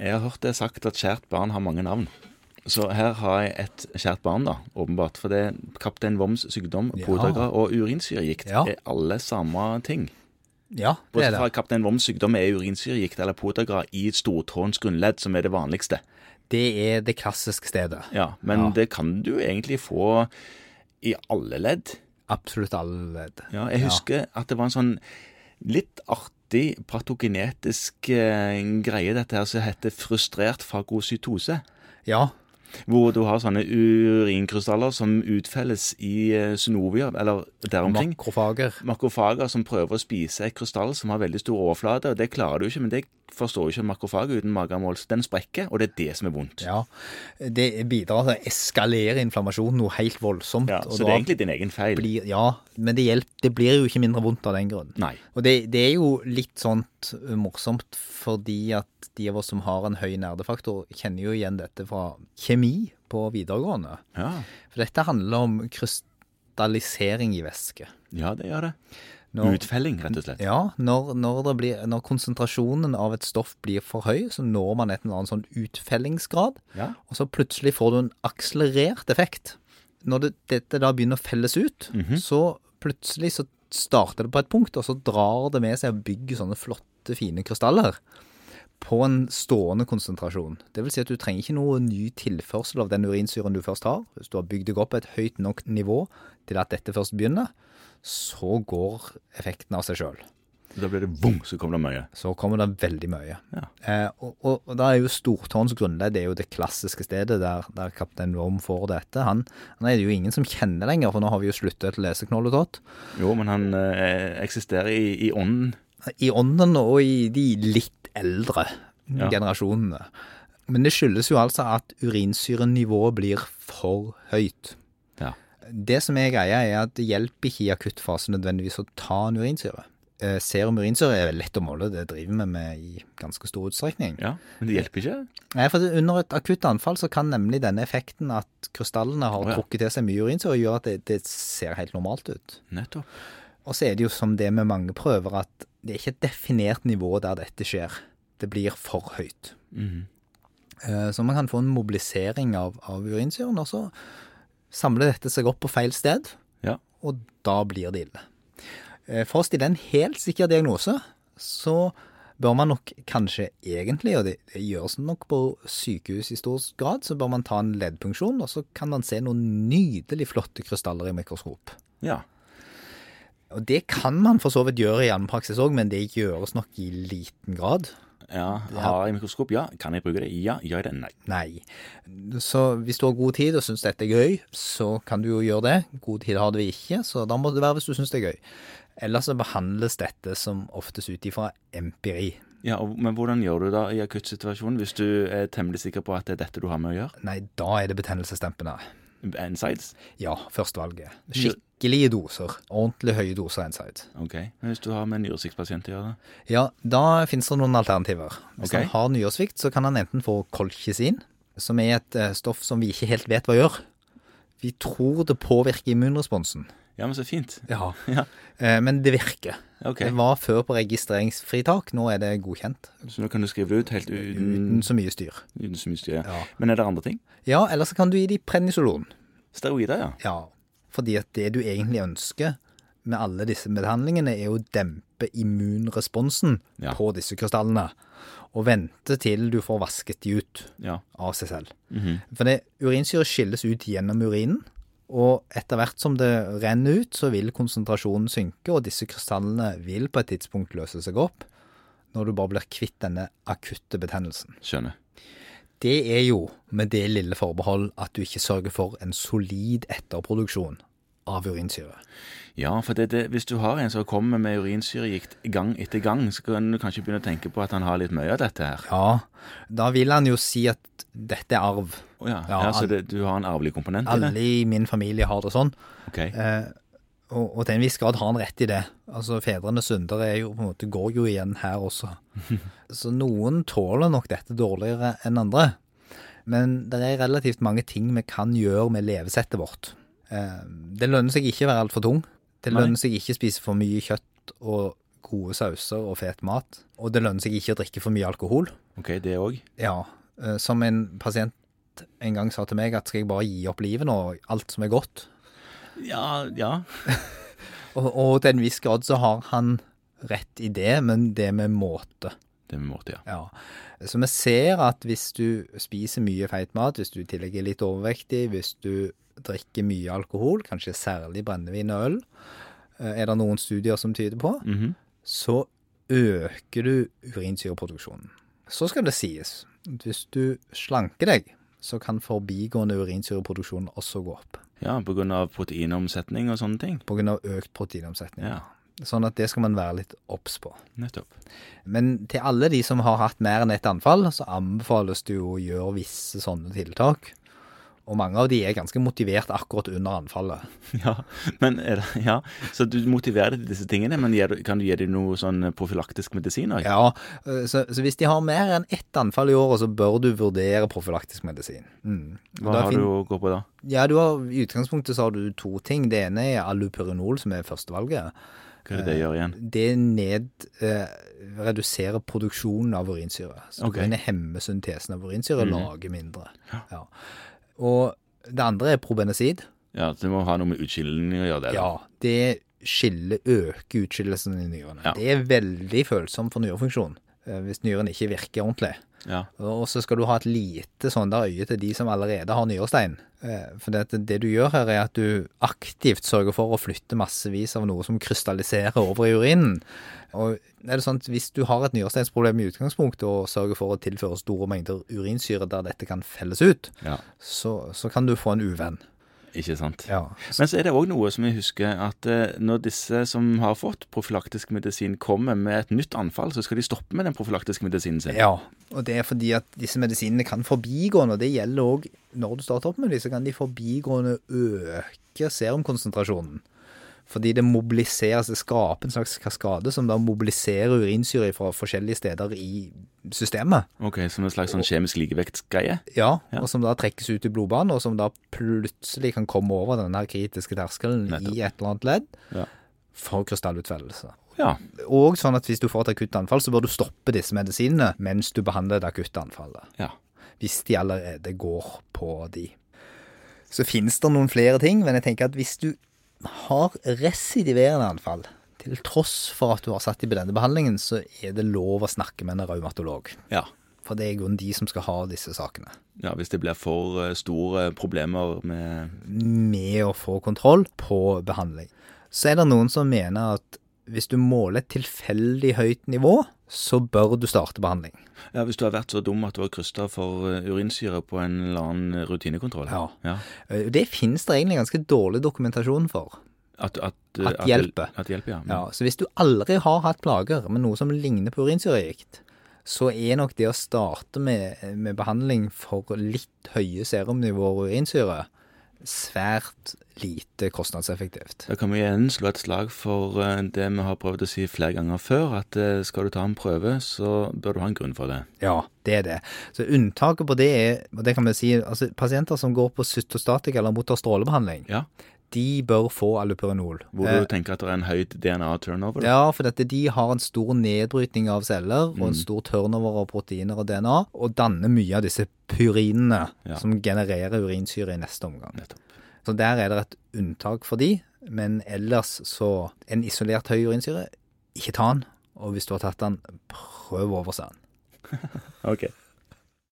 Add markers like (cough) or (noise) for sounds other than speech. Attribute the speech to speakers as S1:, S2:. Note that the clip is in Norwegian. S1: Jeg har hørt det sagt at kjært barn har mange navn. Så her har jeg et kjært barn, da, åpenbart. For det er Kaptein Voms sykdom,
S2: Ja.
S1: blodtørker og urinsyregikt
S2: Ja.
S1: er alle samme ting.
S2: Ja, det er
S1: Bortsett
S2: det.
S1: fra Kaptein Voms sykdom er urinsyregikt eller podagra i stortåens grunnledd, som er det vanligste.
S2: Det er det klassiske stedet.
S1: Ja, Men det kan du egentlig få i alle ledd.
S2: Absolutt alle ledd.
S1: Ja, jeg husker at det var en sånn litt artig patogenetisk eh, greie, dette her, som heter frustrert fagocytose.
S2: Ja,
S1: Hvor du har sånne urinkrystaller som utfelles i eh, synovier, eller der omkring.
S2: makrofager.
S1: Makrofager som prøver å spise et krystall som har veldig stor overflate, og det klarer du ikke, men det forstår jo ikke en makrofag uten magemål. Så den sprekker, og det er det som er vondt.
S2: Ja. Det bidrar til å eskalere inflammasjonen noe helt voldsomt.
S1: Ja,
S2: og
S1: så
S2: da
S1: det er egentlig din egen feil.
S2: blir, Ja, men det, hjelp, det blir jo ikke mindre vondt av den grunn.
S1: Nei.
S2: Og det, det er jo litt sånt eh, morsomt fordi at de av oss som har en høy nerdefaktor, kjenner jo igjen dette fra kjemi på videregående.
S1: Ja,
S2: For dette handler om krystallisering i væske.
S1: ja det gjør det.
S2: Når-
S1: Utfelling, rett og slett.
S2: Ja, når, når, det blir, når konsentrasjonen av et stoff blir for høy, så når man et eller annet sånn utfellingsgrad,
S1: Ja.
S2: og så plutselig får du en akselerert effekt. Når det, dette da begynner å felles ut, så plutselig så starter det på et punkt, og så drar det med seg og bygger sånne flotte, fine krystaller på en stående konsentrasjon. Det vil si at du trenger ikke noe ny tilførsel av den urinsyren du først har. Hvis du har bygd deg opp et høyt nok nivå til at dette først begynner, så går effekten av seg sjøl
S1: Da blir det bong, så kommer det mye.
S2: så kommer det veldig mye.
S1: Ja.
S2: Eh, og, og, og da er jo Stortårns grunnledd det er jo det klassiske stedet der, der kaptein Worm får dette. Han, han er det jo ingen som kjenner lenger, for nå har vi jo sluttet å lese Knolletott.
S1: Jo, men han eh, eksisterer i, i ånden.
S2: I ånden og i de litt eldre
S1: Ja.
S2: generasjonene. Men det skyldes jo altså at urinsyrenivået blir for høyt.
S1: Ja.
S2: Det som er greia, er at det hjelper ikke i akuttfasen nødvendigvis å ta en urinsyre. Eh, Serum urinsyre er lett å måle, det driver vi med i ganske stor utstrekning.
S1: ja. Men det hjelper ikke.
S2: Nei, for Under et akutt anfall så kan nemlig denne effekten at krystallene har
S1: Å, ja.
S2: trukket til seg mye urinsyre, gjøre at det, det ser helt normalt ut.
S1: Nettopp.
S2: Og så er det jo som det med mange prøver, at det er ikke et definert nivå der dette skjer. Det blir for høyt.
S1: Mhm.
S2: Eh, Så man kan få en mobilisering av, av urinsyren, og så samler dette seg opp på feil sted,
S1: Ja.
S2: og da blir det ille. Eh, For å stille en helt sikker diagnose, så bør man nok kanskje egentlig, og det det gjøres nok på sykehus i stor grad, så bør man ta en leddpunksjon, og så kan man se noen nydelig flotte krystaller i mikroskop.
S1: Ja.
S2: Og det kan man for så vidt gjøre i annen praksis òg, men det gjøres nok i liten grad.
S1: ja. Har jeg mikroskop? Ja. Kan jeg bruke det? Ja. Gjør jeg det? Nei.
S2: Nei. Så hvis du har god tid og syns dette er gøy, så kan du jo gjøre det. God tid har du ikke, så da må det være hvis du syns det er gøy. Ellers så behandles dette som oftest ut ifra empiri.
S1: Ja, og, Men hvordan gjør du det i akuttsituasjonen hvis du er temmelig sikker på at det er dette du har med å gjøre?
S2: Nei, da er det betennelsesdempende.
S1: Insides?
S2: Ja, førstevalget. Skikkelige doser. Ordentlig høye doser inside.
S1: Ok. Men hvis du har med en nyresyktpasient å gjøre det?
S2: Ja, da finnes det noen alternativer. Hvis
S1: Ok.
S2: han har nyresvikt, så kan han enten få kolchisin, som er et eh, stoff som vi ikke helt vet hva gjør. Vi tror det påvirker immunresponsen.
S1: Ja, men så fint.
S2: Ja.
S1: (laughs) Ja.
S2: Eh, Men det virker.
S1: Ok.
S2: Det var før på registreringsfritak, nå er det godkjent.
S1: Så nå kan du skrive det ut helt uten,
S2: Uten så mye styr.
S1: uten så mye styr.
S2: Mm. Ja.
S1: Men er det andre ting?
S2: Ja, eller så kan du gi dem prednisolon.
S1: Steroider, ja.
S2: Ja, fordi at det du egentlig ønsker med alle disse behandlingene, er å dempe immunresponsen
S1: Ja.
S2: på disse krystallene. Og vente til du får vasket de ut
S1: Ja.
S2: av seg selv. For det, urinsyre skilles ut gjennom urinen, og etter hvert som det renner ut, så vil konsentrasjonen synke, og disse krystallene vil på et tidspunkt løse seg opp når du bare blir kvitt denne akutte betennelsen.
S1: Skjønner.
S2: Det er jo med det lille forbehold at du ikke sørger for en solid etterproduksjon av urinsyre.
S1: Ja, for det, det, hvis du har en som kommer med urinsyregikt gang etter gang, så kan du kanskje begynne å tenke på at han har litt mye av dette her.
S2: Ja, da vil han jo si at dette er arv.
S1: Å ja.
S2: Ja,
S1: ja, så
S2: al-
S1: det, du har en arvelig komponent i det?
S2: Alle i min familie har det sånn.
S1: Ok.
S2: Eh, og, og til en viss grad har han rett i det. Altså, Fedrene syndere er jo, på en måte, går jo igjen her også. Så noen tåler nok dette dårligere enn andre. Men det er relativt mange ting vi kan gjøre med levesettet vårt. Eh, det lønner seg ikke å være altfor tung. Det
S1: Nei.
S2: lønner seg ikke å spise for mye kjøtt og gode sauser og fet mat. Og det lønner seg ikke å drikke for mye alkohol.
S1: OK, det òg.
S2: Ja, eh, som en pasient en gang sa til meg at skal jeg bare gi opp livet nå, alt som er godt.
S1: Ja, ja.
S2: Og, og til en viss grad så har han rett i det, men det med måte.
S1: Det med Morty, ja.
S2: Ja. Så vi ser at hvis du spiser mye feit mat, hvis du i tillegg er litt overvektig, hvis du drikker mye alkohol, kanskje særlig brennevin og øl, eh, er det noen studier som tyder på,
S1: Mhm.
S2: så øker du urinsyreproduksjonen. Så skal det sies, at hvis du slanker deg, så kan forbigående urinsyreproduksjon også gå opp,
S1: Ja, på grunn av proteinomsetning og sånne ting.
S2: på grunn av økt proteinomsetning.
S1: Ja,
S2: Sånn at det skal man være litt obs på.
S1: nettopp.
S2: Men til alle de som har hatt mer enn ett anfall, så anbefales det jo å gjøre visse sånne tiltak. Og mange av de er ganske motivert akkurat under anfallet.
S1: (laughs) Ja, men er det, ja. Så du motiverer deg til disse tingene, men gir, du- kan du gi dem noe sånn profylaktisk medisin òg?
S2: Ja, øh, så, så hvis de har mer enn ett anfall i året, så bør du vurdere profylaktisk medisin. Mm. Og da
S1: Hva har
S2: fin-
S1: du å gå på da?
S2: Ja, du har, I utgangspunktet så har du to ting. Det ene er allopurinol, som er førstevalget.
S1: Hva er det det gjør igjen?
S2: Det ned, eh, reduserer produksjonen av urinsyre. Så
S1: Ok.
S2: okay. den hemmer syntesen av urinsyre og lager mindre. Ja. Og det andre er probenesid.
S1: Ja, så Det må ha noe med utskilling å gjøre, det. da.
S2: Ja, det skiller, øker utskillelsen i nyrene.
S1: Ja.
S2: Det er veldig følsomt for nyrefunksjon eh, hvis nyren ikke virker ordentlig.
S1: Ja.
S2: Og så skal du ha et lite sånn der øye til de som allerede har nyrestein. Eh, For det, at det du gjør her, er at du aktivt sørger for å flytte massevis av noe som krystalliserer over i urinen. Og er det sånn at hvis du har et nyresteinsproblem i utgangspunktet, og sørger for å tilføre store mengder urinsyre der dette kan felles ut,
S1: ja.
S2: så, så kan du få en uvenn.
S1: Ikke sant.
S2: Ja.
S1: Men så er det òg noe som jeg husker, at eh, når disse som har fått profylaktisk medisin, kommer med et nytt anfall, så skal de stoppe med den profylaktiske medisinen sin.
S2: Ja, og det er fordi at disse medisinene kan forbigående, og det gjelder òg når du starter opp med dem, så kan de forbigående øke serumkonsentrasjonen. Fordi det mobiliseres, det skaper en slags kaskade som da mobiliserer urinsyre fra forskjellige steder i systemet.
S1: Ok, Som en slags sånn kjemisk likevektsgreie?
S2: Ja,
S1: Ja.
S2: Og som da trekkes ut i blodbanen, og som da plutselig kan komme over den her kritiske terskelen
S1: Nettopp.
S2: i et eller annet ledd
S1: Ja.
S2: for krystallutfellelse.
S1: Ja.
S2: Og sånn at hvis du får et akutt anfall, så bør du stoppe disse medisinene mens du behandler det akutte anfallet.
S1: ja.
S2: hvis de allerede går på de. Så finnes det noen flere ting, men jeg tenker at hvis du har residiverende anfall, til tross for at du har satt dem på denne behandlingen, så er det lov å snakke med en revmatolog.
S1: Ja.
S2: For det er i grunnen de som skal ha disse sakene.
S1: ja hvis det blir for eh, store problemer med
S2: Med å få kontroll på behandling. Så er det noen som mener at hvis du måler et tilfeldig høyt nivå, så bør du starte behandling.
S1: Ja, Hvis du har vært så dum at du har krysta for eh, urinsyre på en eller annen eh, rutinekontroll.
S2: Ja.
S1: ja.
S2: Eh, Det finnes det egentlig ganske dårlig dokumentasjon for.
S1: At, at, eh,
S2: At
S1: det-
S2: hjelper.
S1: At hjelper, ja. Men-
S2: Ja, så hvis du aldri har hatt plager med noe som ligner på urinsyregikt, så er nok det å starte med, med behandling for litt høye serumnivåer urinsyre svært lite kostnadseffektivt.
S1: Da kan vi igjen slå et slag for eh, det vi har prøvd å si flere ganger før, at eh, skal du ta en prøve, så bør du ha en grunn for det.
S2: Ja, det er det. Så unntaket på det er, og det kan vi si, altså pasienter som går på cytostatika eller mottar strålebehandling,
S1: Ja,
S2: de bør få allopurinol.
S1: Hvor
S2: Eh,
S1: du tenker at det er en høy DNA-turnover.
S2: Ja, for dette, de har en stor nedbrytning av celler
S1: Mm.
S2: og en stor turnover av proteiner og DNA, og danner mye av disse pyrinene
S1: Ja.
S2: som genererer urinsyre i neste omgang.
S1: Nettopp.
S2: Så der er det et unntak for de, men ellers så En isolert høy urinsyre, ikke ta den. Og hvis du har tatt den, prøv å overse den.
S1: Ok.